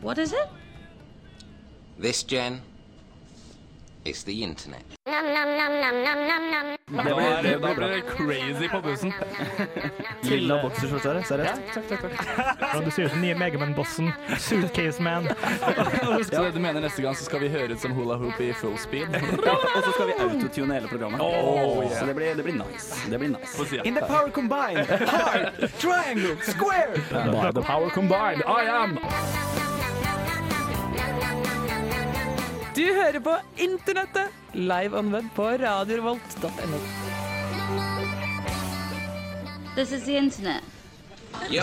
What is it? This, Jen, is the internet. Da er det- da blir det crazy på bussen. Lilla bokserskjorte her, seriøst? Og Du ser ut som nye Megaman-bossen. Suitcase Man. Så du mener neste gang så skal vi høre ut som hula hoop i full speed? Ja, og så skal vi autotune hele programmet. Oh, yeah. Så det blir, det blir nice. Det blir nice. Få si In at- the power combined, hard, triangle, square. By the power combined, I am Du hører på Internettet, live on web på radiorevolt.no. This is the internet.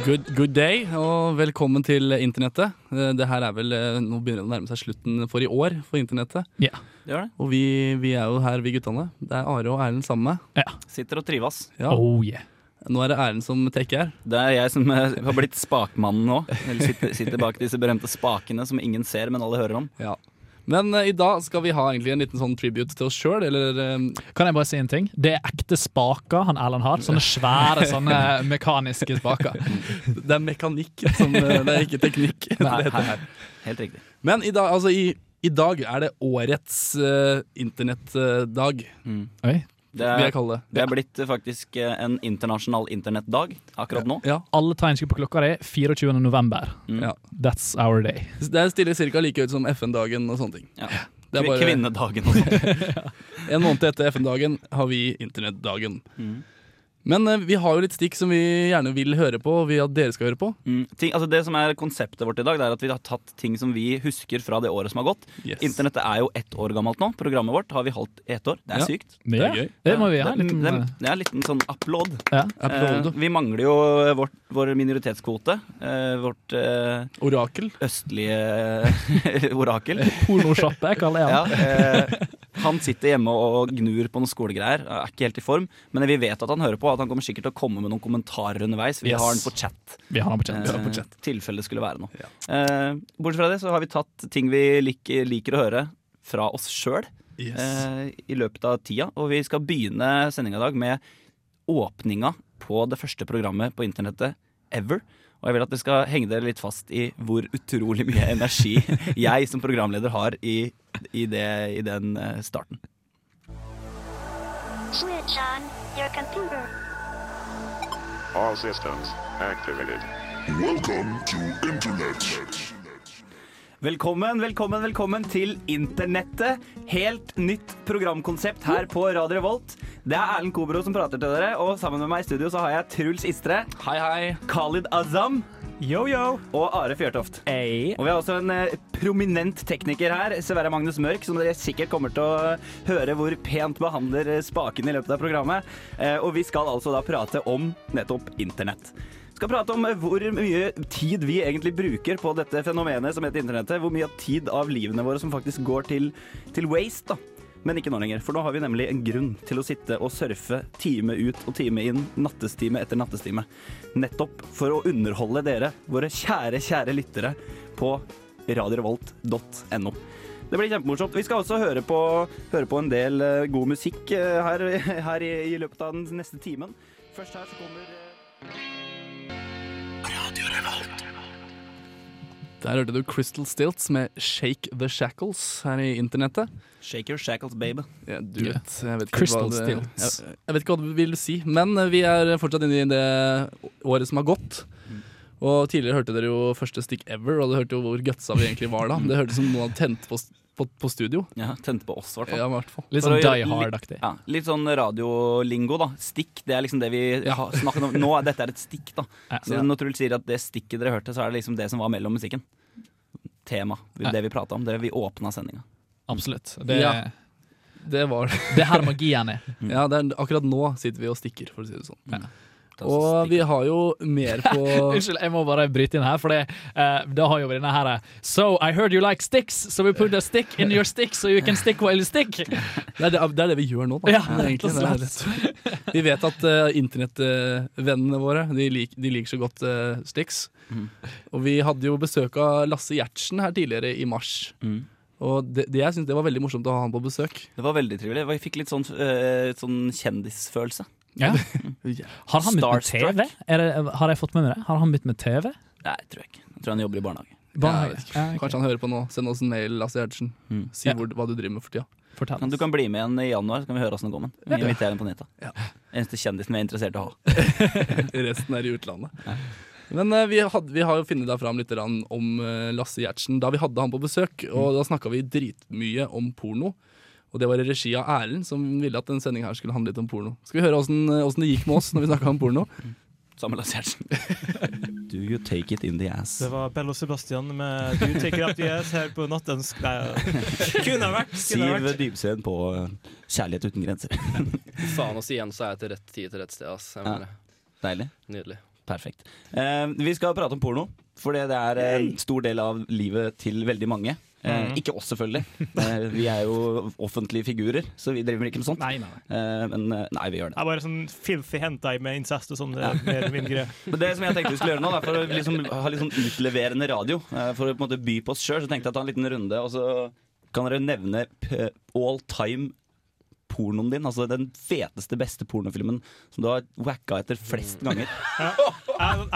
Good, good day, og velkommen til internettet. Eh, Det her er vel, eh, Nå begynner det å nærme seg slutten for i år for internettet. Ja. Gjør det. Og vi, vi er jo her, vi guttene. Det er Are og Erlend sammen med. Sitter og trives. Ja. Oh yeah. Nå er det Erlend som tekker her. Det er jeg som eh, har blitt spakmannen nå. Eller sitter, sitter bak disse berømte spakene som ingen ser, men alle hører om. Ja. Men eh, i dag skal vi ha egentlig en liten sånn tribute til oss sjøl, eller eh, Kan jeg bare si en ting? Det er ekte spaker han Erlend har. Sånne svære sånne mekaniske spaker. Det er mekanikk, som, eh, det er ikke teknikk. Nei, her, her. Helt riktig. Men i dag, altså i, i dag er det årets eh, internettdag, Oi. Det vil jeg er, kalle det. det er blitt eh, faktisk eh, en internasjonal internettdag akkurat nå. Ja. Alle tegnskudd på klokka er 24. november. ja. That's our day. Det stiller ca. like ut som FN-dagen og sånne ting. Ja. Det er bare Kvinnedagen og sånn. En måned etter FN-dagen har vi internettdagen. Men eh, vi har jo litt stikk som vi gjerne vil høre på, og vi at dere skal høre på. Mm. Ting- Altså det som er konseptet vårt i dag, det er at vi har tatt ting som vi husker fra det året som har gått. Yes. Internettet er jo ett år gammelt nå. Programmet vårt har vi holdt i ett år. Det er Ja. sykt. Det er gøy. Det må vi ha. det, en liten, det, det er en liten sånn applaud. ja. Applaud. Eh, vi mangler jo vårt, vår minoritetskvote. eh, vårt eh, Orakel. østlige orakel. Pornosjappe, kaller jeg Ja, han. eh, han sitter hjemme og gnur på noen skolegreier. Er ikke helt i form, men vi vet at han hører på. At han kommer sikkert til å komme med noen kommentarer underveis. Vi Yes. har den på chat. Vi har han på kjent. Eh, på chat. tilfelle det skulle være noe. Eh, bortsett fra det så har vi tatt ting vi lik, liker å høre fra oss sjøl eh, i løpet av tida. Og vi skal begynne sendinga i dag med åpninga på det første programmet på internettet ever. Og jeg vil at dere skal henge dere litt fast i hvor utrolig mye energi jeg som programleder har i, i, det, i den eh, starten. Switch on your computer. All systems activated. Welcome to Internet. Velkommen, velkommen, velkommen til Internettet. Helt nytt programkonsept her på Radio Revolt. Det er Erlend Kobro som prater til dere, og sammen med meg i studio så har jeg Truls Istre, Hei, hei. Khalid Azam Yo, yo. og Are Fjørtoft. Hey. Og vi har også en eh, prominent tekniker her, Sverre Magnus Mørk, som dere sikkert kommer til å høre hvor pent behandler eh, spaken i løpet av programmet. Eh, Og vi skal altså da prate om nettopp internett. Vi skal prate om eh, hvor mye tid vi egentlig bruker på dette fenomenet som heter internettet. Hvor mye tid av livene våre som faktisk går til, til waste, da. Men ikke nå lenger, for nå har vi nemlig en grunn til å sitte og surfe time ut og time inn, nattestime etter nattestime. Nettopp for å underholde dere, våre kjære, kjære lyttere, på radiorevolt.no. Det blir kjempemorsomt. Vi skal også høre på, høre på en del eh, god musikk eh, her, her i, i løpet av den neste timen. Først her så kommer eh, Der hørte du Crystal Stilts med 'Shake The Shackles' her i internettet. Shake your shackles, babe. Ja, du Ja. vet, jeg vet ikke Crystal hva det, Stilts. Jeg, jeg vet ikke hva det vil si, men eh, vi er fortsatt inne i det året som har gått. Og tidligere hørte dere jo første stikk ever, og dere hørte jo hvor gutsa vi egentlig var da. Det hørtes ut som noen hadde tent på, på, på studio. Ja, tente på oss, i hvert fall. Ja, i hvert fall. Litt For å sånn gjøre Die Hard-aktig. Ja, litt sånn radiolingo, da. Stikk, det er liksom det vi har snakket om. Nå er dette er et stikk, da. Ja. Så når Truls sier at det stikket dere hørte, så er det liksom det som var mellom musikken. Tema. Det vi prata om. Det vi åpna sendinga. Absolutt. Det, Ja. Det var det. det er her magien er. Ja, det er, akkurat nå sitter vi og stikker, for å si det sånn. Det er altså Og stikk. vi har jo mer på Unnskyld, jeg må bare bryte inn her, for det, eh, da har jo vi denne her eh, So I heard you like sticks, so we put a stick in your stick, so you can stick while you stick. Det er det, det, er det vi gjør nå, da. Ja, Det er egentlig det. Vi vet at eh, internettvennene våre De, lik, de liker så godt uh, Stix. Mm. Og vi hadde jo besøk av Lasse Gjertsen her tidligere i mars. Mm. Og det, det, jeg synes det var veldig morsomt å ha han på besøk. Det var veldig trivelig. Vi fikk litt sånn, eh, sånn kjendisfølelse. Ja. Har han begynt med Starstruck. TV? Er det, har jeg fått med meg det? Har han begynt med TV? Nei, tror jeg ikke. Jeg tror han jobber i barnehage. Barnehage. Ja, Ja, ok. Kanskje han hører på nå. Send oss en mail, Lasse Gjertsen. Si Mm. Ja. hvor, hva du driver med for tida. Fortell Men oss. du kan bli med igjen i januar, så kan vi høre åssen det går med den. Vi inviterer den på nytt. da. Eneste kjendisen vi er interessert i å ha. Resten er i utlandet. Men eh, vi, hadde, vi har jo funnet deg fram litt grann om eh, Lasse Gjertsen da vi hadde han på besøk. Og da snakka vi dritmye om porno. Og det var i regi av Erlend, som ville at den sendinga her skulle handle litt om porno. Skal vi høre åssen eh, åssen det gikk med oss når vi snakka om porno? Samuel Lasse Gjertsen. Do you take it in the ass? Det var Bell og Sebastian med 'Du tenker at vi er her på nattens Nei, kunne ha vært! Kunne ha Siv vært. Dybsveen på eh, Kjærlighet uten grenser. Faen oss igjen, så er jeg til rett tid til rett sted. ass. Jeg Ja. mener, det. Deilig. Nydelig. Perfekt. Eh, vi skal prate om porno, for det er eh, en stor del av livet til veldig mange. Eh, ikke oss, selvfølgelig. Eh, vi er jo offentlige figurer, så vi driver ikke med sånt. Nei, nei, nei. Eh, men eh, nei, vi gjør det. Det er bare sånn filthy hentai med incest og sånn. Det er mer eller mindre. Men det som jeg tenkte vi skulle gjøre nå, da, for å liksom, ha litt sånn utleverende radio, eh, for å på en måte by på oss sjøl, så tenkte jeg å ta en liten runde, og så kan dere nevne p- all time pornoen din, altså den feteste, beste pornofilmen som du har wacka etter flest ganger. Ja, den har-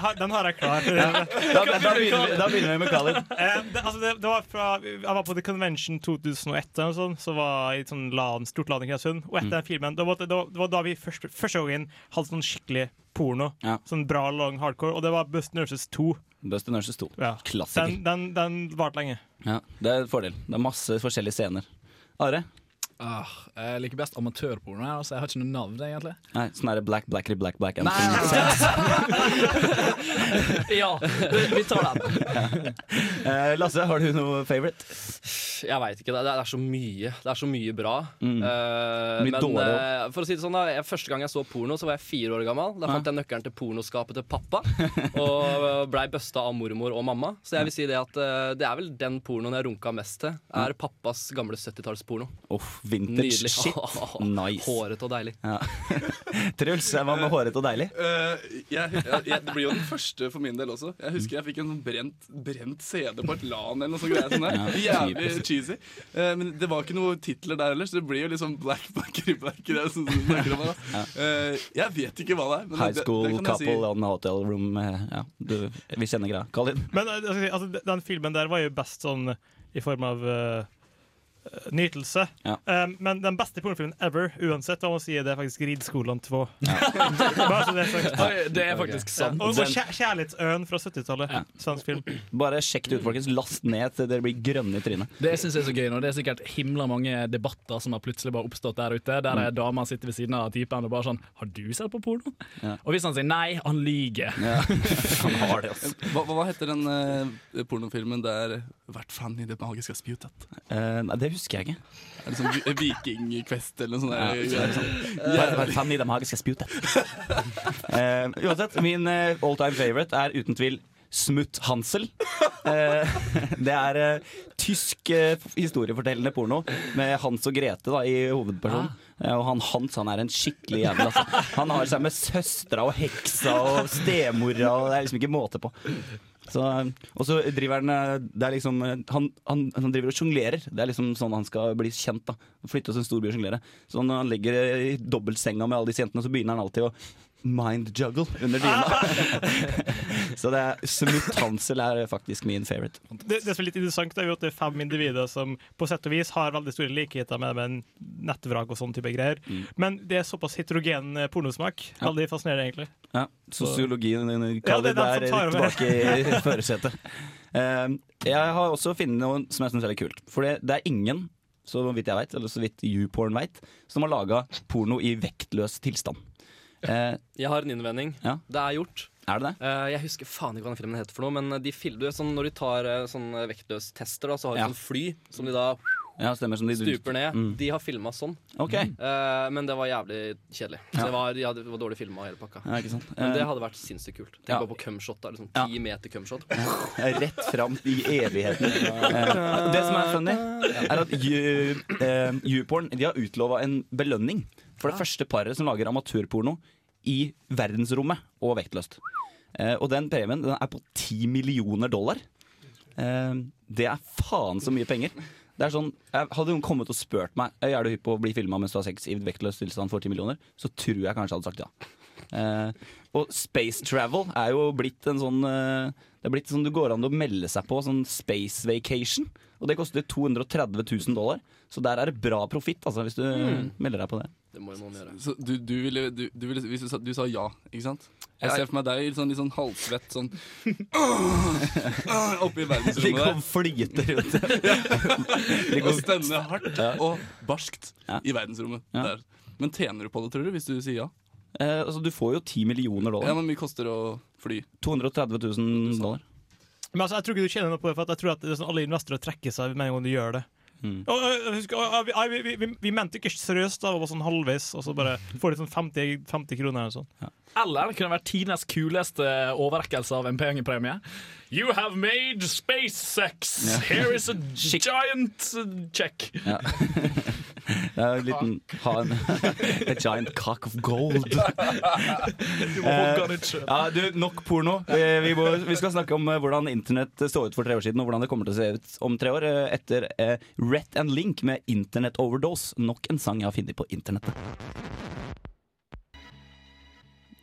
Eh, den har jeg klar. Da, da, begynner, vi, da begynner vi med Khalid. Eh, det, altså det, det var fra Jeg var på The Convention 2001 eller sånn, så var jeg i et sånn LAN, stort LAN i Kristiansund. Mm. Og etter den filmen det var, det, var, det var da vi først, første gangen hadde sånn skikkelig porno. Ja. Sånn bra, lang hardcore. Og det var Bust Nurses 2. Buster Nurses 2. Ja. Klassiker. Den, den, den varte lenge. Ja, det er en fordel. Det er masse forskjellige scener. Are? Ah, jeg liker best amatørporno. her, Altså. Jeg har ikke noe navn, egentlig. Nei, sånn er det black, blackery, black, black Nei, anthem. ja, vi tar den. Eh, Lasse, har du noe favorite? Jeg veit ikke. Det er, det er så mye. Det er så mye bra. Eh, Mm. Mye men dårlig eh, for å si det sånn da jeg, første gang jeg så porno, så var jeg fire år gammel. Da fant jeg nøkkelen til pornoskapet til pappa. Og eh, blei busta av mormor og mamma. Så jeg vil si det at eh, det er vel den pornoen jeg runka mest til. Er pappas gamle 70-tallsporno. Uff, vintage Nydelig. Mm. shit. Nice. Hårete og deilig. Truls, hva med håret og deilig? Eh, jeg, jeg, jeg, det blir jo den første for min del også. Jeg husker jeg fikk en sånn brent, brent CD på et LAN eller noe sånt. greier Sånn der. Jævlig altså. cheesy. Eh, men det var ikke noen titler der ellers. Det blir jo liksom Black Buckery Black. Det er sånn som du snakker om, her, da. Eh, jeg vet ikke hva det er. men High det- school det kan jeg si. couple on hotel room. eh, Ja, du, vi kjenner greia. Colin. Men eh, altså, altså, de- den filmen der var jo best sånn i form av eh, nytelse. Ja. Eh, men den beste pornofilmen ever, uansett hva man sier, det er faktisk 'Ridskolan 2'. Bare så det er sagt. Det er faktisk sant. Og, og kjær, 'Kjærlighetsøen' fra 70-tallet. Svensk film. Bare sjekk det ut, folkens. Last ned til dere blir grønne i trynet. Det jeg synes er så gøy nå, det er sikkert himla mange debatter som har plutselig bare oppstått der ute, der mm. dama sitter ved siden av typen og bare sånn 'Har du sett på porno?' Ja. Og hvis han sier nei, han lyver. Han har det, altså. Hva, hva heter den eh, pornofilmen der 'Vært fan i det magiske spjutet'? Eh, nei, det husker jeg ikke. Er det sånn vi- Vikingquest eller noe sånt? Ja, der, det greier, sånn. Bare vær fan i det magiske spjutet. Eh, uansett, min eh, all time favorite er uten tvil Smutt Hansel. Eh, det er eh, tysk eh, historiefortellende porno med Hans og Grete da, i hovedpersonen. Eh, og han Hans han er en skikkelig jævel. Altså. Han har seg med søstera og heksa og stemora, og det er liksom ikke måte på. Så, og så driver han eh, Det er liksom eh, Han, han, han driver og sjonglerer. Det er liksom sånn han skal bli kjent. da Flytte til en storby og sjonglere. Så når han ligger i dobbeltsenga med alle disse jentene, så begynner han alltid å mind juggle under dyna. så det er Smutt Hansel er faktisk min favorite. Det, det som er litt interessant, er jo at det er fem individer som på sett og vis har veldig store likheter med, med nettvrak og sånne type greier. Men det er såpass heterogen eh, pornosmak. Veldig fascinerende, egentlig. Ja, Sosiologien din Ja, Khalid, det er den er som tar over. tilbake i førersetet. Eh, jeg har også funnet noe som jeg syns er litt kult. For det, det er ingen, så vidt jeg vet, eller så vidt YouPorn vet, som har laga porno i vektløs tilstand. Eh, Jeg har en innvending. Ja. Det er gjort. er det det? Eh, jeg husker faen ikke hva den filmen heter, for noe men de fil- du vet sånn, når de tar eh, sånn vektløstester, da, så har de Ja. sånn fly som de da Ja, stemmer som de stuper ned. mm. De har filma sånn, Ok, Eh, men det var jævlig kjedelig. Så det var, ja, det var dårlig filma hele pakka. ja, ikke sant Men Eh, det hadde vært sinnssykt kult. Tenk Ja. bare på cumshot. da, Liksom, Ja. ti meter cumshot. Eh, Rett fram i evigheten Eh, Det som er funny Er at You- eh, YouPorn De har utlovet en belønning For det første paret som lager amatørporno I verdensrommet og vektløst Eh, Og den premien den er på 10 millioner dollar Eh, Det er faen så mye penger det er sånn, jeg- hadde noen kommet og spurt meg «Øy, Er du hypp på å bli filmet mens du har sex i vektløs tilstand for 10 millioner Så tror jeg kanskje jeg hadde sagt ja Eh, og space travel er jo blitt en sånn eh, Det er blitt sånn det går an å melde seg på sånn space vacation. Og det koster 230 000 dollar. Så der er det bra profitt altså, hvis du Mm. melder deg på det. Så du, du ville, du, du ville Hvis du sa, du sa ja, ikke sant? Jeg Ja. ser for meg deg litt sånn, litt sånn halvsvett sånn «Åh, åh», Oppe i Ligger og verdensrommet flyter rundt. der. ligger Og og- stønner hardt Ja. og barskt Ja. i verdensrommet der. Men tjener du på det, tror du, hvis du sier ja? Eh, altså, du får jo 10 millioner dollar. Ja, men mye koster å fly. 230 000 dollar. Men altså, jeg tror ikke du tjener noe på det, for at jeg tror at det er sånn, alle investorer trekker seg med en gang du gjør det. Mm. Og, og, og husk, og, og, vi- vi, vi, vi, vi mente ikke seriøst, da, og var sånn halvveis, og så bare får de sånn 50, 50 kroner eller sånn. Eller det kunne vært tidenes kuleste overrekkelse av en pengepremie. You have made space sex! Ja. Here is a giant uh, check! Ja. Det er jo en liten ha en, A giant cock of gold. Du må Eh, holde den ut selv. ja, du, nok porno. Vi, vi, må, vi skal snakke om eh, hvordan internett så ut for tre år siden, og hvordan det kommer til å se ut om tre år. eh, Etter eh, Rhett and Link med 'Internet Overdose'. Nok en sang jeg har funnet på internettet.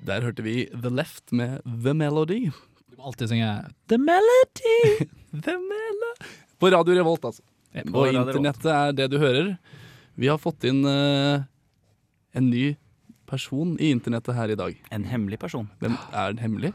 Der hørte vi The Left med The Melody. Du må alltid synge The Melody! The Mela På Radio Revolt, altså. på og Radio internettet er det du hører. Vi har fått inn eh, en ny person i internettet her i dag. En hemmelig person. Hvem er den hemmelig?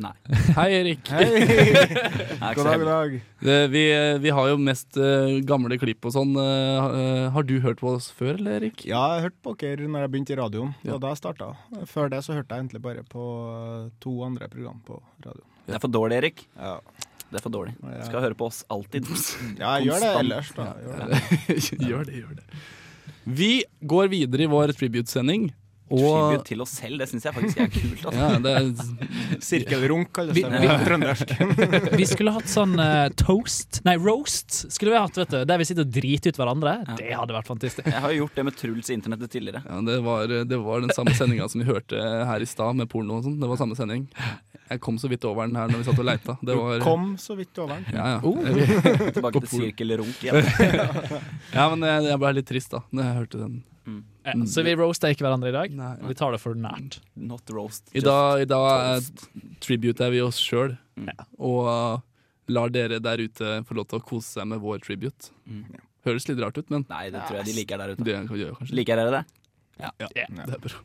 Nei. Hei, Erik. Nei, ikke God så dag, hemmelig. god dag. Det, vi, eh, vi har jo mest eh, gamle klipp og sånn. eh, eh, har du hørt på oss før, eller, Erik? Ja, jeg hørte på dere når jeg begynte i radioen. Det Ja. var da jeg starta. Før det så hørte jeg egentlig bare på eh, to andre program på radioen. Det er for dårlig, Erik. Ja, Det er for dårlig. Ja. Du skal høre på oss alltid. ja jeg gjør det Konstant. ellers, da. Jeg Gjør det. gjør det, gjør det. Vi går videre i vår tribute-sending. Tribute Og til oss selv, det syns jeg faktisk er kult. Altså. ja, det er, Sirkelrunk kalles Vi- det vi- på trøndersk. Vi skulle hatt sånn eh, toast Nei, roast skulle vi hatt, vet du. Der vi sitter og driter ut hverandre. Det hadde vært fantastisk. Jeg har jo gjort det med Truls i internettet tidligere. ja, det, var, det var den samme sendinga som vi hørte her i stad, med porno og sånn. Det var samme sending. Jeg kom så vidt over den her når vi satt og leita. Det var Kom så vidt over den. Ja, ja. Tilbake til sirkelrunk igjen. ja men jeg, jeg ble litt trist da Når jeg hørte den Ja, Eh, så vi roaster ikke hverandre i dag. Nei, nei. Vi tar det for nært. Not roast. I just dag, i dag er- toast. tributer vi oss selv Mm. Og uh, lar dere der ute få lov til å kose seg med vår tribute Mm. Høres litt rart ut, men Nei, det tror jeg de liker der ute. det kan vi gjøre kanskje Liker dere det? Det er bra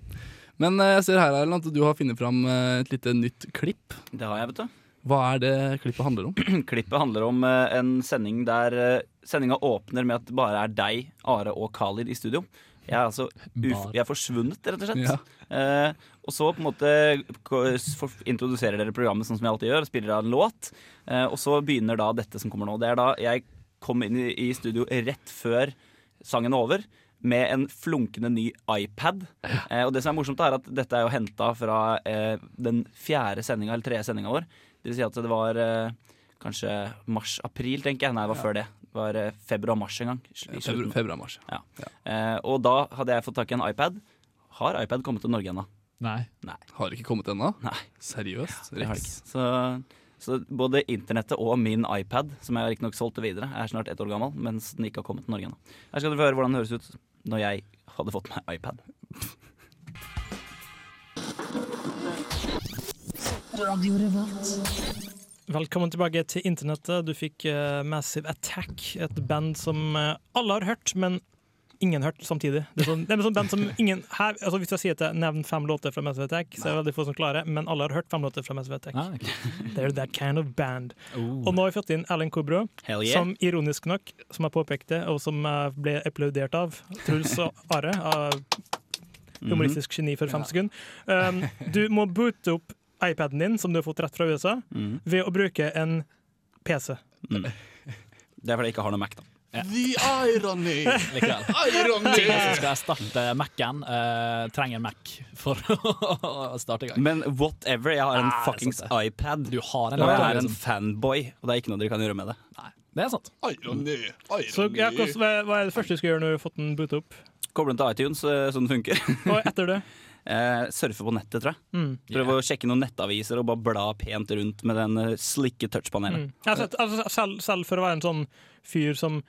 Men uh, jeg ser her Erlend, at du har funnet fram uh, et lite nytt klipp Det har jeg, vet du. Hva er det klippet handler om? Klippet handler om eh, en sending der eh, sendinga åpner med at det bare er deg, Are og Khalid i studio. Jeg er altså uf Bare. jeg er forsvunnet, rett og slett. Ja. Eh, og så på en måte ko- s- for- introduserer dere programmet sånn som jeg alltid gjør, spiller av en låt. eh, og så begynner da dette som kommer nå. Det er da jeg kom inn i, i studio rett før sangen er over. Med en flunkende ny iPad. Eh, og det som er morsomt, er at dette er jo henta fra eh, den fjerde sendinga, eller tredje sendinga vår. Det vil si at det var eh, kanskje mars-april, tenker jeg. Nei, det var før det. Det var eh, februar-mars en gang. sl- i Febru- slutten. Februar-mars ja. Eh, og da hadde jeg fått tak i en iPad. Har iPad kommet til Norge ennå? Nei. Har ikke kommet ennå Nei. Seriøst, det har det Rex ikke. Så, så både internettet og min iPad, som jeg riktignok solgte videre, er snart ett år gammel, mens den ikke har kommet til Norge ennå. Her skal dere få høre hvordan det høres ut når jeg hadde fått meg iPad. Velkommen tilbake til internettet. Du fikk eh, Massive Attack, et band som eh, alle har hørt, men ingen hørt samtidig. Det er sånn, det er sånn band som ingen her, altså Hvis jeg sier til deg, nevn fem låter fra Massive Attack, så er det veldig få som klarer, men alle har hørt fem låter fra Massive Attack. They're that kind of band. Og nå har vi fått inn Erlend Kobro, Hell yeah. som ironisk nok, som jeg påpekte, og som jeg ble applaudert av Truls og Are, av Mhm. humoristisk geni for fem sekunder. Um, du må boote opp iPaden din, som du har fått rett fra USA, Mhm. ved å bruke en PC. Det er fordi jeg ikke har noe Mac, da. The irony Likevel. Ting som skal starte Mac-en, eh, trenger en Mac for å starte i gang. Men whatever, jeg har en Nei, fuckings Ah, det er sant iPad. Du har en Og jeg laptop, er en liksom. fanboy, og det er ikke noe dere kan gjøre med det. Nei, det er sant. Irony Så ja, hvordan- hva hva er det første du skal gjøre når du har fått den boota opp? Koble den til iTunes, eh, så den funker. Og etter det? Eh, surfe på nettet, tror jeg. Mm. Prøve å sjekke noen nettaviser og bare bla pent rundt med den eh, slikke touchpanelet. Mm. Jeg har sett, altså, selv, selv for å være en sånn fyr som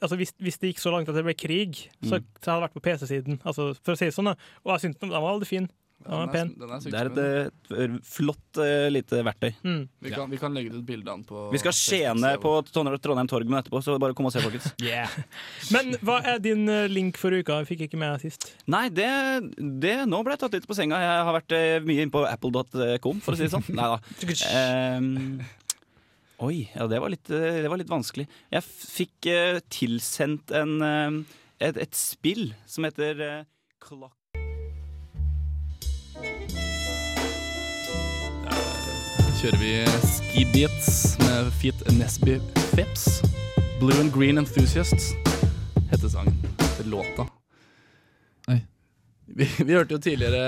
Altså hvis, hvis det gikk så langt at det ble krig, så, så hadde jeg vært på PC-siden. Altså, for å si det sånn da Og jeg syntes den var veldig fin. Den er pen. Den er sykt Det er et eh, flott eh, lite verktøy. Mm. Vi kan, vi kan legge ut et bilde av den på Vi skal skjene på Trondheim Trondheim Torg med etterpå, så bare kom og se, folkens. Men hva er din eh, link for uka? Jeg fikk ikke med sist. Nei, det, det Nå ble jeg tatt litt på senga. Jeg har vært eh, mye inne på apple.com, for å si det sånn. Nei da. Ehm, oi, ja, det var, litt, eh, det var litt vanskelig. Jeg f- fikk eh, tilsendt en, eh, et, et spill som heter eh, Clock... Kjører vi Ski Beats med Feet Nesby Feps. Blue and Green Enthusiasts heter sangen. Heter låta. Oi. Vi, vi hørte jo tidligere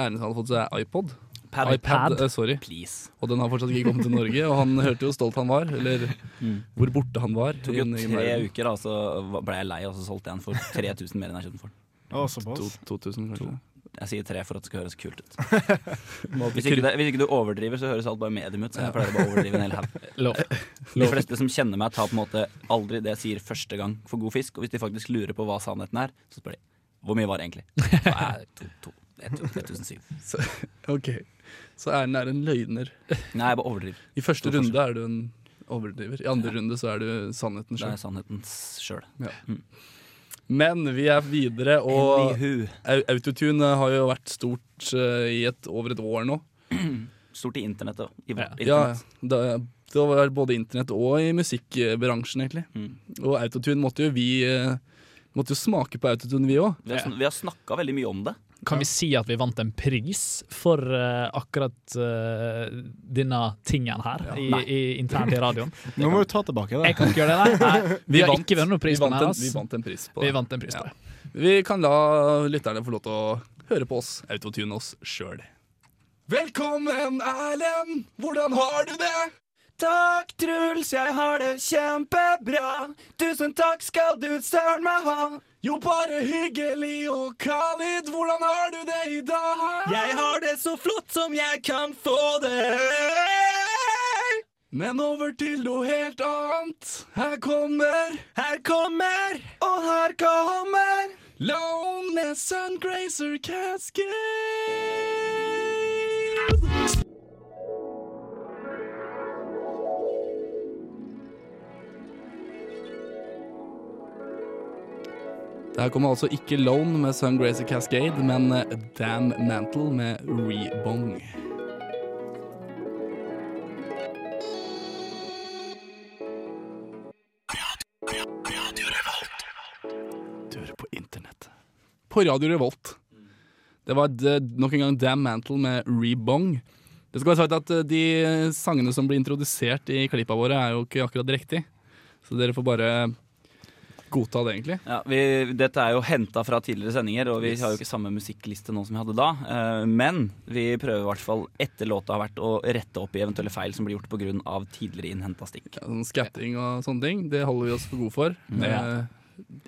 Erlend hadde fått seg iPod. Pad. iPad, eh, sorry. Please. Og den har fortsatt ikke kommet til Norge. Og han hørte jo hvor stolt han var, eller hvor borte han var. Mm. Tok jo i- i tre verden. uker, da, så ble jeg lei, og så solgte jeg den for 3000 mer enn jeg kjøpte den for. Og såpass. To- 2000, kanskje. Jeg sier tre for at det skal høres kult ut. Må Hvis ikke, det, hvis ikke du overdriver, så høres alt bare medium ut. Så jeg pleier å bare overdrive en hel haug. Lov. De fleste som kjenner meg, tar på en måte aldri det jeg sier første gang for god fisk. Og hvis de faktisk lurer på hva sannheten er, så spør de hvor mye var det egentlig. Så er det to- to- ett- 1007. Ok, Så Erlend er en løgner. Nei, jeg bare overdriver. I første Stor runde er du en overdriver. I andre runde så er du sannheten Det er Mm. sjøl. sannheten sjøl. Ja. Men vi er videre, og Anywho. au- autotune har jo vært stort eh, i et, over et år nå. Stort i internettet. og I vårt Ja, internett. det, det var både internett og i musikkbransjen, egentlig. Mm. Og autotune måtte jo vi eh, måtte jo smake på autotune, vi òg. Vi har, sn- vi har snakka veldig mye om det. Kan vi si at vi vant en pris for eh, akkurat eh, denne tingen her, i, i, internt i radioen? Nå må du ta tilbake det. Jeg kan ikke gjøre det, nei. nei. Vi, har ikke vunnet noen pris vi på den vant her. en- ass. Vi vant en pris på Vi det. vant en pris på det. Vi kan la lytterne få lov til å høre på oss, autotune oss sjøl. Velkommen, Erlend! Hvordan har du det? Takk, Truls, jeg har det kjempebra. Tusen takk skal du søren meg ha. Jo, bare hyggelig. Og Khalid, hvordan har du det i dag? Jeg har det så flott som jeg kan få det. Men over til noe helt annet. Her kommer Her kommer, og her kommer Lonely Sungrazer Cascade. Der kommer altså ikke Lone med Sungrazer Cascade, men eh, Damn Mantle med Rebong. Du hører på internett. På Radio Revolt. Det var eh, nok en gang Damn Mantle med Rebong. Det skal være sagt at eh, de sangene som blir introdusert i klippa våre, er jo ikke akkurat riktig. Så dere får bare godta det, egentlig. Ja, vi, dette er jo henta fra tidligere sendinger, og vi Yes. har jo ikke samme musikkliste nå som vi hadde da. Eh, men vi prøver i hvert fall etter låta har vært å rette opp i eventuelle feil som blir gjort pga. tidligere innhenta stikk. Ja, sånn Skatting og sånne ting, det holder vi oss for gode for. Ja. Eh,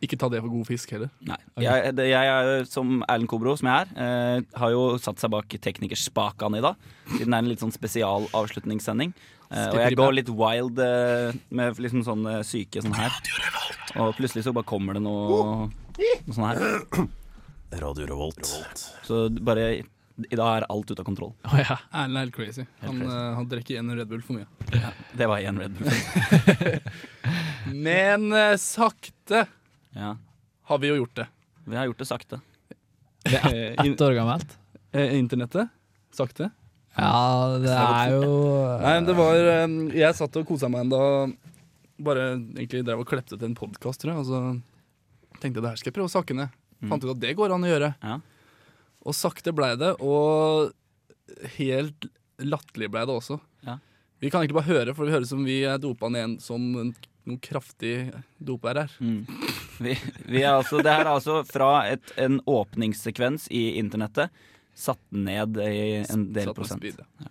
ikke ta det for god fisk heller. Nei. Jeg, det, jeg er, som Erlend Kobro, som jeg er, eh, har jo satt seg bak teknikerspakene i dag. Siden det er en litt sånn spesialavslutningssending. Eh, og jeg går litt wild eh, med liksom sånn eh, syke sånn her. Og plutselig så bare kommer det noe, noe sånn her. Radio Revolt. Så bare I dag er alt ute av kontroll. Å ja. Erlend er helt crazy. Han, crazy. eh, han drikker en Red Bull for mye. Det var én Red Bull. Men eh, sakte Ja. har vi jo gjort det. Vi har gjort det sakte. Det er ett- ett år gammelt. Eh, internettet. Sakte. Ja, det er jo Nei, det var eh, Jeg satt og kosa meg en dag. Bare egentlig drev og klepte til en podkast, tror jeg. Og så tenkte jeg det her skal jeg prøve å sakke ned. Mm. Fant ut at det går an å gjøre. Ja. Og sakte blei det. Og helt latterlig blei det også. Ja. Vi kan egentlig bare høre, for det høres ut som vi er dopa ned en- som en- noen kraftig dopa er her. Vi, vi er altså, det her er altså fra et, en åpningssekvens i internettet satt ned i en del Satt med prosent. speed, ja.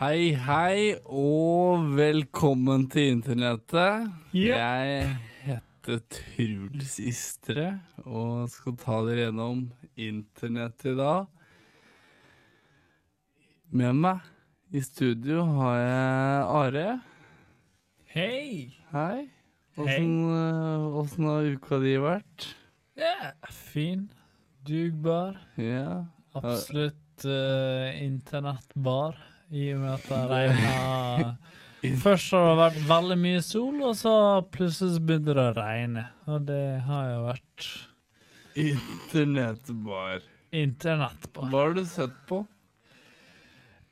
Hei, hei, og velkommen til internettet. Jeg heter Truls Istre og skal ta dere gjennom internett i dag. Med meg i studio har jeg Are. Hei! Hei. Åssen eh, åssen har uka di vært? Fin, dugbar, Ja. absolutt litt eh, internettbar, i og med at det regna Først har det vært veldig mye sol, og så plutselig så begynte det å regne. Og det har jo vært Internettbar. internettbar. Hva har du sett på?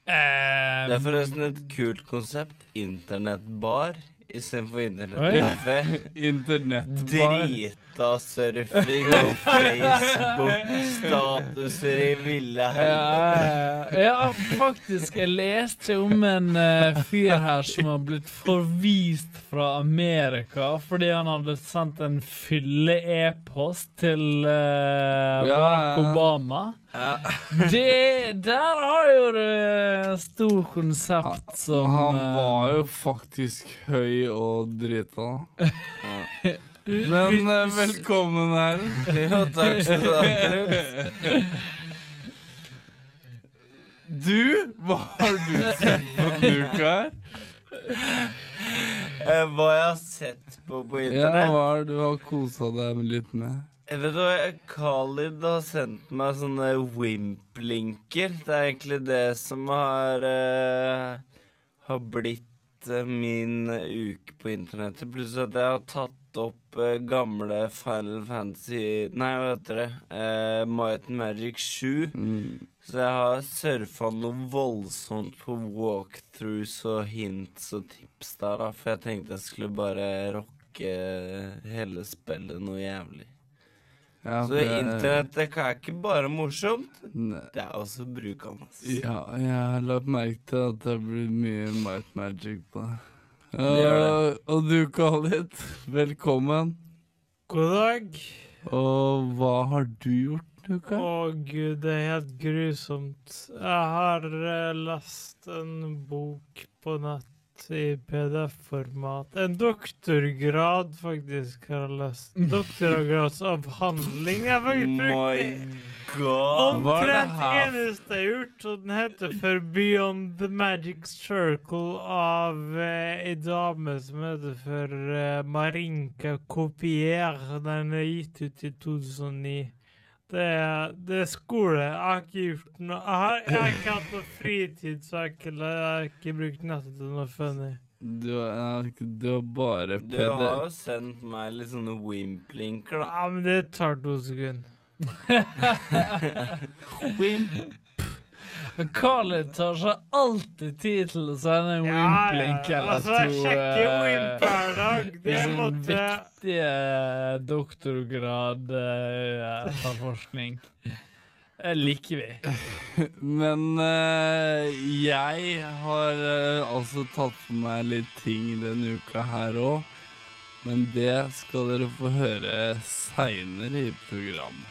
Eh, Det er forresten et kult konsept. Internettbar istedenfor internettkafé. Oi. Internettbar. Drita surfing og Facebook-statuser i ville Ja, ja, ja, faktisk. Jeg leste om en eh, fyr her som har blitt forvist fra Amerika fordi han hadde sendt en fylle-e-post til eh, Ja, Barack ja. Obama. eh. Det, der har jo du eh, stor konsept som Han eh, var jo faktisk høy og drita. Du- Men du- eh, velkommen her. Jo, takk skal du ha, Du? Hva har du sett på knuk her? Eh, Hva jeg har sett på på Ja, internett? hva er det du har kosa deg litt med? Jeg vet du hva, Khalid har sendt meg sånne wimp-linker. Det er egentlig det som har eh, Har blitt eh, min uke på internettet. Pluss at jeg har tatt opp eh, gamle Final Fantasy Nei, hva heter det? Eh, Might and Magic 7. Så jeg har surfa noe voldsomt på walkthroughs og hints og tips der, da. For jeg tenkte jeg skulle bare rocke eh, hele spillet noe jævlig. Ja, Så for jeg- internettet kan ikke bare morsomt, Nei. det er også brukende. Ja, jeg har lagt merke til at det blir mye Might Magic på deg. Det gjør Eh, og du, Khalid, velkommen. God dag. Og hva har du gjort? Å gud, det er helt grusomt. Jeg har eh, lest en bok på nett i PDF-format. En doktorgrad, faktisk, har jeg lest. Doktorgradsavhandling. Jeg har faktisk brukt det. god. Hva er det Omtrent her? eneste jeg har gjort, og den heter For Beyond the Magic Circle av eh, ei dame som heter for eh, Marinka Copier. Den er gitt ut i 2009. Det er, det er skole. Jeg har ikke gjort noe Jeg har, jeg har ikke hatt noe fritid, så jeg har ikke, jeg har ikke brukt nettet til noe funny. Du er, du er bare Du har jo PD. sendt meg litt sånne wimp-linker, da. Ja, men det tar to sekunder. Men Khalid tar seg alltid tid til å sende en Ja, wimp-link ja, eller altså, jeg to. sjekker jo eh, liksom Wimp hver dag. Det i sin måtte- viktige eh, doktorgradforskning. Det Eh, liker vi. Men eh, jeg har eh, altså tatt på meg litt ting denne uka her òg. Men det skal dere få høre seinere i programmet.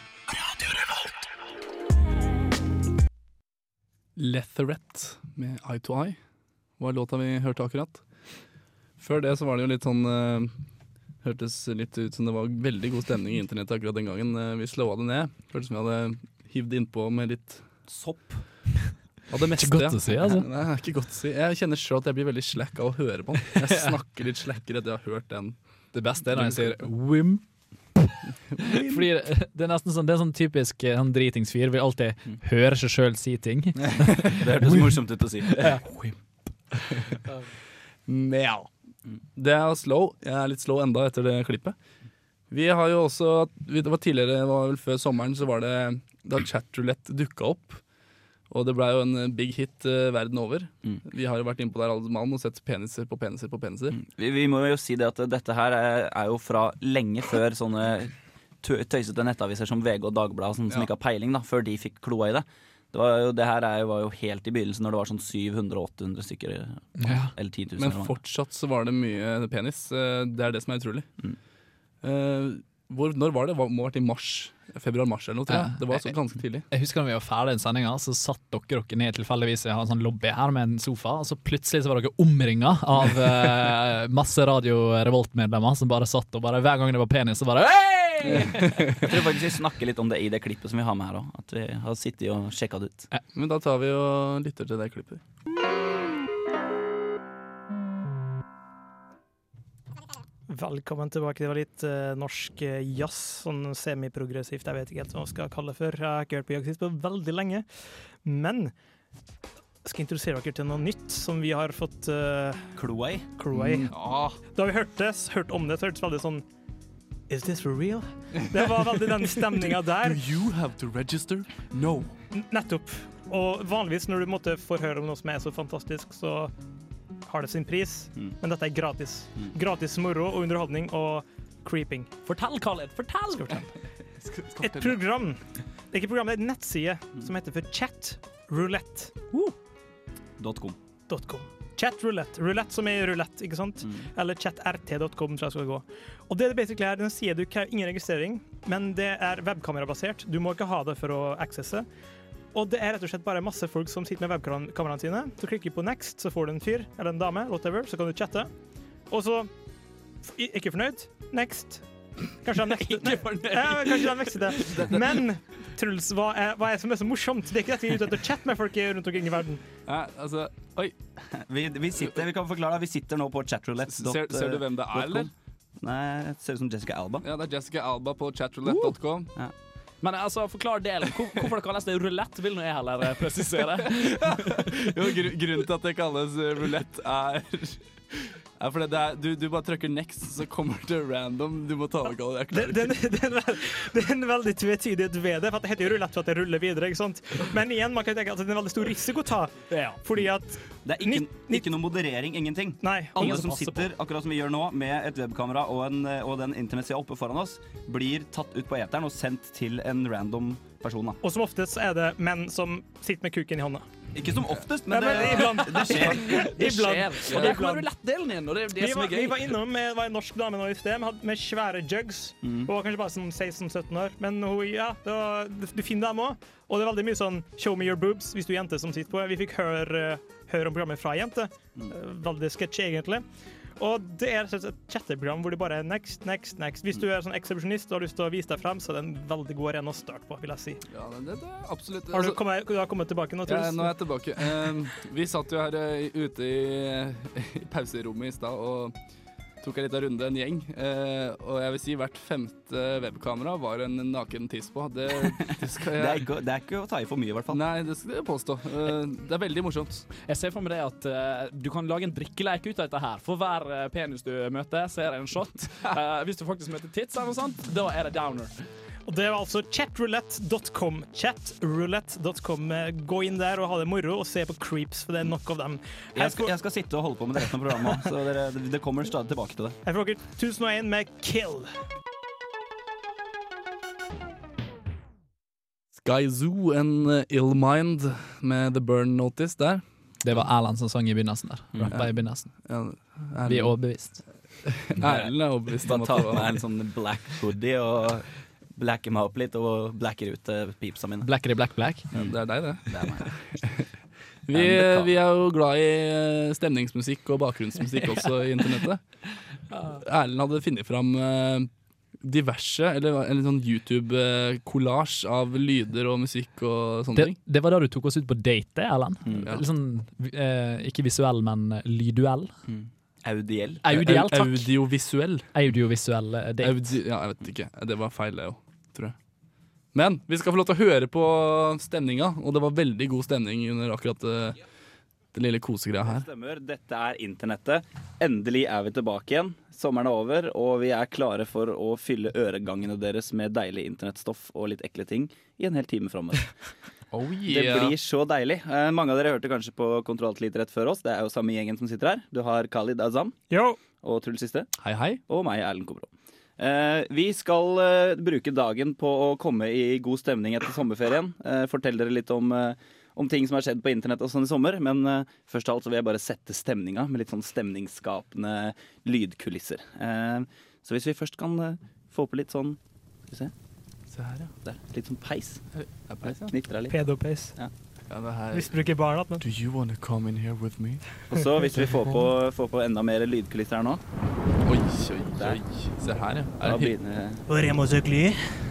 Letheret med Eye to Eye var låta vi hørte akkurat. Før det så var det jo litt sånn eh, Hørtes litt ut som det var veldig god stemning i internett akkurat den gangen. eh, vi slåa det ned. Føltes som vi hadde hivd innpå med litt Sopp. Av det meste. Ikke godt ja. å si, altså. Nei, det er ikke godt å si. Jeg kjenner sjøl at jeg blir veldig slack av å høre på den. Jeg snakker litt slackere etter jeg har hørt den. Det beste er når jeg sier Wim. Fordi det- det er nesten sånn, det er sånn typisk eh, sånn dritingsfyr. Vil alltid høre seg sjøl si ting. det hørtes morsomt ut å si. Ja. Mjau. Det er slow. Jeg er litt slow enda etter det klippet. Vi har jo også Det var tidligere, det var vel før sommeren, så var det da chatroulette dukka opp. Og det blei jo en big hit eh, verden over. Vi har jo vært innpå der alle mann og sett peniser på peniser på peniser. Vi, vi må jo si det at dette her er, er jo fra lenge før sånne tø- tøysete nettaviser som VG og Dagbladet og sånn, som Ja. ikke har peiling, da, før de fikk kloa i det. Det, var jo, det her er jo, var jo helt i begynnelsen, når det var sånn 700-800 stykker. Ja. Eller 10 000. eller Men hva det var. fortsatt så var det mye penis. Eh, Det er det som er utrolig. Mm. Eh, Hvor, når var det? Hva- Må ha vært i mars? Februar-mars eller noe, tror jeg. Ja. Det var så Eh, ganske tidlig. Jeg husker når vi var ferdig den sendinga, så satt dere dere ned tilfeldigvis i en sånn lobby her med en sofa, og så plutselig så var dere omringa av eh, masse Radio Revolt-medlemmer som bare satt og bare Hver gang det var penis, så bare Hei! Jeg tror faktisk vi snakker litt om det i det klippet som vi har med her òg. At vi har sittet og sjekka det ut. Men da tar vi og lytter til det klippet. Velkommen tilbake. Det var litt eh, norsk eh, jazz, sånn semiprogressivt, jeg vet ikke helt hva man skal kalle det for. Jeg har ikke hørt på jazz på veldig lenge. Men jeg skal introdusere dere til noe nytt som vi har fått uh, Kloa i. Mm. Da vi hørte, hørte om det, så hørtes det veldig sånn Is this for real? Det var veldig den stemninga der. Do you have to register? No. N- Nettopp. Og vanligvis når du måtte får høre om noe som er så fantastisk, så har det sin pris. Mm. Men dette er gratis. Gratis moro og underholdning og creeping. Fortell, Khaled. Fortell! Et program, ikke program, det er en nettside Mm. som heter for Chat Roulette. .com. chatroulette.com. Chatroulette. Roulette som er rulett, ikke sant? Eller chatrt.com, tror jeg skal gå. Og det er det basically her, den sier du krever ingen registrering, men det er webkamerabasert. Du må ikke ha det for å accesse. Og det er rett og slett bare masse folk som sitter med webkameraene sine. Du klikker på next, så får du en fyr eller en dame, whatever, så kan du chatte. Og så f- i- Ikke fornøyd? Next. Kanskje han nekter Ikke fornøyd. Ja, men kanskje han nekter det. Men Truls, hva er, hva er det som er så morsomt? Det er ikke dette vi er ute etter å chatte med folk i- rundt omkring i verden. altså, oi. Vi, vi, sitter, vi kan forklare, vi sitter nå på chatroulette. eh, Ser, ser du hvem det eh, er, eller? Nei, det ser ut som Jessica Alba. Ja, det er Jessica Alba på chatroulette.com. Uh. Ja. Men altså, forklar delen. Hvor, hvorfor det kalles det rulett, vil nå jeg heller eh, presisere. Jo, gru, grunnen til at det kalles eh, roulette, er er fordi det er, du, du bare trykker next, så kommer det random. Du må ta over kallet. Jeg Det, klarer det, det, er en vel- det er en veldig tvetydighet ved det, for at det heter jo rulett for at det ruller videre. ikke sant? Men igjen, man kan tenke at det er en veldig stor risiko å ta. Fordi at Det er ikke, ikke noe moderering, ingenting. Nei, Alle ingen som passer på. sitter, akkurat som vi gjør nå, med et webkamera og, en, eh, og den internettsida oppe foran oss, blir tatt ut på eteren og sendt til en random person. Da. Og som oftest er det menn som sitter med kuken i hånda. Ikke som oftest, Nei, men, men iblant. det, det skjer. Det skjer. Og der kommer rulettdelen inn, og det er jo det Vi som var, er gøy. vi var innom eh, det var en norsk dame nå i sted med, med svære jugs. Hun var kanskje bare sånn 16-17 år, men hun, ja, det var, du finner dem òg. Og det er veldig mye sånn 'show me your boobs' hvis du er jente som sitter på. Vi fikk høre, eh, høre om programmet fra ei jente. Eh, Veldig sketsjy, egentlig. Og det er rett og slett et chatteprogram hvor det bare er next, next, next. Hvis du er sånn ekshibisjonist og har lyst til å vise deg frem, så er det en veldig god arena å starte på, vil jeg si. Ja, det, det, det er absolutt Har du altså- kommet, du har kommet tilbake nå, Truls? Ja, nå er jeg tilbake. Ehm, vi satt jo her eh, ute i, i pauserommet i stad og tok en liten runde, en gjeng. Eh, og jeg vil si hvert femte webkamera var en naken tiss på. Det, det skal Det jeg er, ikke, det er ikke å ta i for mye, i hvert fall. Nei, det skal jeg påstå. Eh, det er veldig morsomt. Jeg ser for meg det at eh, du kan lage en drikkeleik ut av dette her. For hver eh, penis du møter, så er det en shot. Eh, hvis du faktisk møter tits eller noe sånt, da er det downer. Og det var altså chatroulette.com. Chatroulette.com. Gå inn der og ha det moro, og se på creeps, for det er nok av dem. Jeg skal, jeg skal sitte og holde på med det resten av programmet også, så dere, det- det kommer stadig tilbake til det. Her får dere 1001 med Kill. Sky Zoo and eh, Ill Mind med The Burn Notice der. Det var Erland som sang i begynnelsen der. Rappa i begynnelsen. Erlend. Vi er overbevist. Erlend er overbevist om Bare at ta det var med en sånn black hoodie og blacke meg opp litt, og blacker ut eh, pipsa mine. Blackere black black. Det er deg, det. Det er meg. Vi, vi er jo glad i eh, stemningsmusikk og bakgrunnsmusikk også i internettet. Erlend hadde funnet fram eh, diverse, eller en litt sånn YouTube-kollasj av lyder og musikk og sånne Det, ting. det var da du tok oss ut på date, Erland. ja. Litt sånn, eh, ikke visuell, men lyduell. Audiell. Audiell, takk. Audiovisuell. Audiovisuell eh, date. Audi ja, jeg vet ikke. Det var feil, det òg, tror jeg. Men vi skal få lov til å høre på stemninga, og det var veldig god stemning under akkurat eh, det lille kosegreia her. Stemmer. Dette er internettet. Endelig er vi tilbake igjen. Sommeren er over, og vi er klare for å fylle øregangene deres med deilig internettstoff og litt ekle ting i en hel time framover. Oh, Det blir så deilig. Eh, mange av dere hørte kanskje på Kontroll til litt rett før oss. Det er jo samme gjengen som sitter her. Du har Khalid Azam og Truls Siste. Hei, hei. Og meg, Erlend Kobro. Eh, vi skal eh, bruke dagen på å komme i god stemning etter sommerferien. Eh, fortell dere litt om, eh, om ting som har skjedd på internett og sånn i sommer. Men eh, først av alt så vil jeg bare sette stemninga med litt sånn stemningsskapende lydkulisser. Eh, så hvis vi først kan eh, få på litt sånn Skal vi se. Der. Litt sånn peis. Knitrer litt. Pedopace. Ja. Misbruker barna. Men. Do you wanna come in here with me? Og så hvis vi får på, får på enda mer lydkulisser her nå Oi, oi, oi. Se her, ja. Da Er det begynner Og Remo Søkli.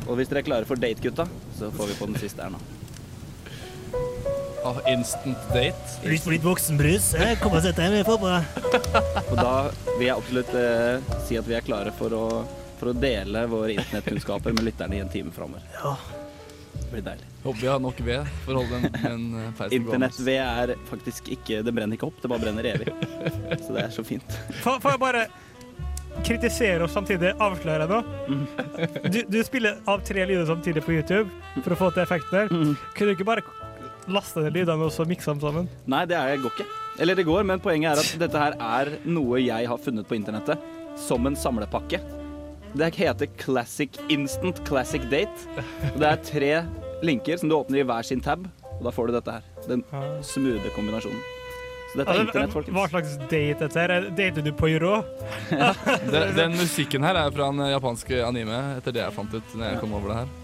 Og hvis dere er klare for date, gutta, så får vi på den siste her nå. Ah, instant date? Litt, litt voksenbrus. Eh, Kom og sett deg med fotball. Og da vil jeg absolutt eh, si at vi er klare for å, for å dele våre internettkunnskaper med lytterne i en time framover. Ja. blir deilig. Håper vi har nok ved for å holde en, en eh, peisen gående. Internett-ved er faktisk ikke Det brenner ikke opp, det bare brenner evig. Så det er så fint. Får får jeg bare kritisere og samtidig avsløre noe? Mm. Du, du spiller av tre lyder samtidig på YouTube for å få til effekten der. Mm. Kunne du ikke bare laste ned lydene og så mikse dem sammen? Nei, det er, går ikke. Eller det går, men poenget er at dette her er noe jeg har funnet på internettet som en samlepakke. Det heter Classic Instant Classic Date. Og det er tre linker som du åpner i hver sin tab, og da får du dette her. Den smoothe kombinasjonen. Så dette er Altså, internett, folkens. Hva slags date dette her? Er- Dater du på Euro? Den, den musikken her er fra en eh, japansk anime, etter det jeg fant ut når jeg kom over det her.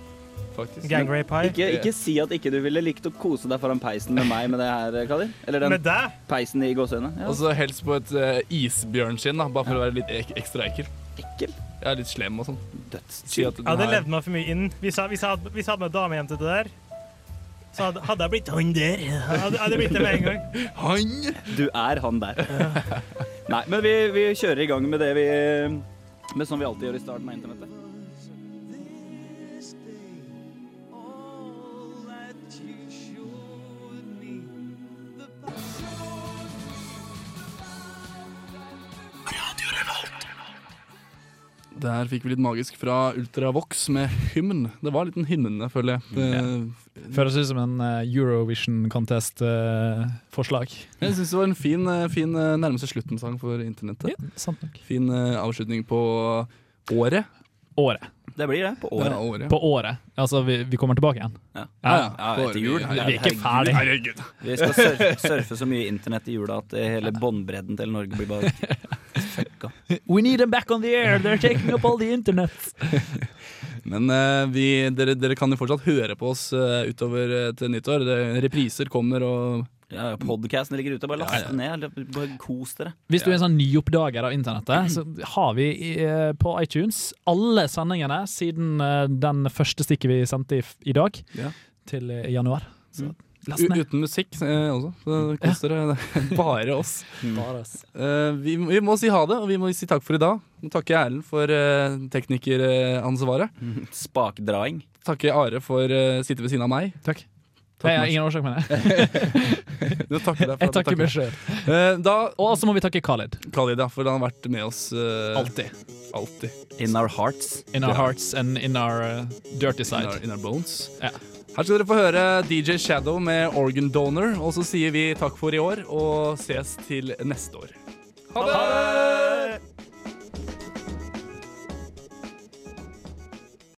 Faktisk. Ikke, ikke si at ikke du ville likt å kose deg foran peisen med meg med det her, Kadir. Eller den Med deg? peisen i gåseøynene. Ja. Altså- Og så helst på et eh, isbjørnskinn, da, bare for å være litt ek ekstra ekkel. Ekkel? Ja, litt slem og sånn. Si Jeg at den hadde her- levd meg for mye inn. Hvis jeg, hvis jeg, hadde, hvis jeg hadde med en dame hjem til det der, så hadde, hadde jeg blitt han der. Hadde, hadde jeg blitt det med en gang. Han! Du er han der. Nei, men vi, vi kjører i gang med det vi Med sånn vi alltid gjør i starten av internettet. Der fikk vi litt magisk fra Ultravox med hymn. Det var litt en hymne, føler jeg. Mm, Det, Føles ut som en eh, Eurovision eh, Contest-forslag. jeg syns det var en fin, eh, fin eh, nærmeste slutten-sang for internettet. Fin eh, avslutning på året. Året. Det blir det. På året. Ja, året. På året. Altså, vi, vi kommer tilbake igjen. Ja. Ja, Ja, ja, på etter året. jul. Vi, vi er ikke Herregud. ferdig. Herregud. Vi skal surfe, surfe så mye internett i jula at eh, hele båndbredden til Norge blir bare fucka. We need them back on the air! They're taking up all the internet! Men eh, vi, dere, dere kan jo fortsatt høre på oss eh, utover eh, til nyttår. Det, repriser kommer og Ja, Podcasten ligger ute. Bare last den ned. eller Bare kos dere. Hvis du er en sånn nyoppdager av internettet, så har vi eh, på iTunes alle sendingene siden eh, den første stikket vi sendte i, f- i dag, Ja. til eh, januar. Så last U- ned. Uten musikk eh, også. Så kos dere. Bare oss. Eh, vi, vi må si ha det, og vi må si takk for i dag. Nå takker jeg Erlend for eh, teknikeransvaret. Spakdraing. Takker Are for å sitte ved siden av meg. Takk. Nei, jeg har ingen årsak med det. Du Jeg takker deg for at du takker meg sjøl. Eh, da- Og så må vi takke Khaled. Khalid, ja, for han har vært med oss eh, Alltid. In our hearts. In our Ja. hearts and in our eh, dirty side. In our, in our bones. Her skal dere få høre DJ Shadow med Organ Donor, og så sier vi takk for i år og ses til neste år. Ha det!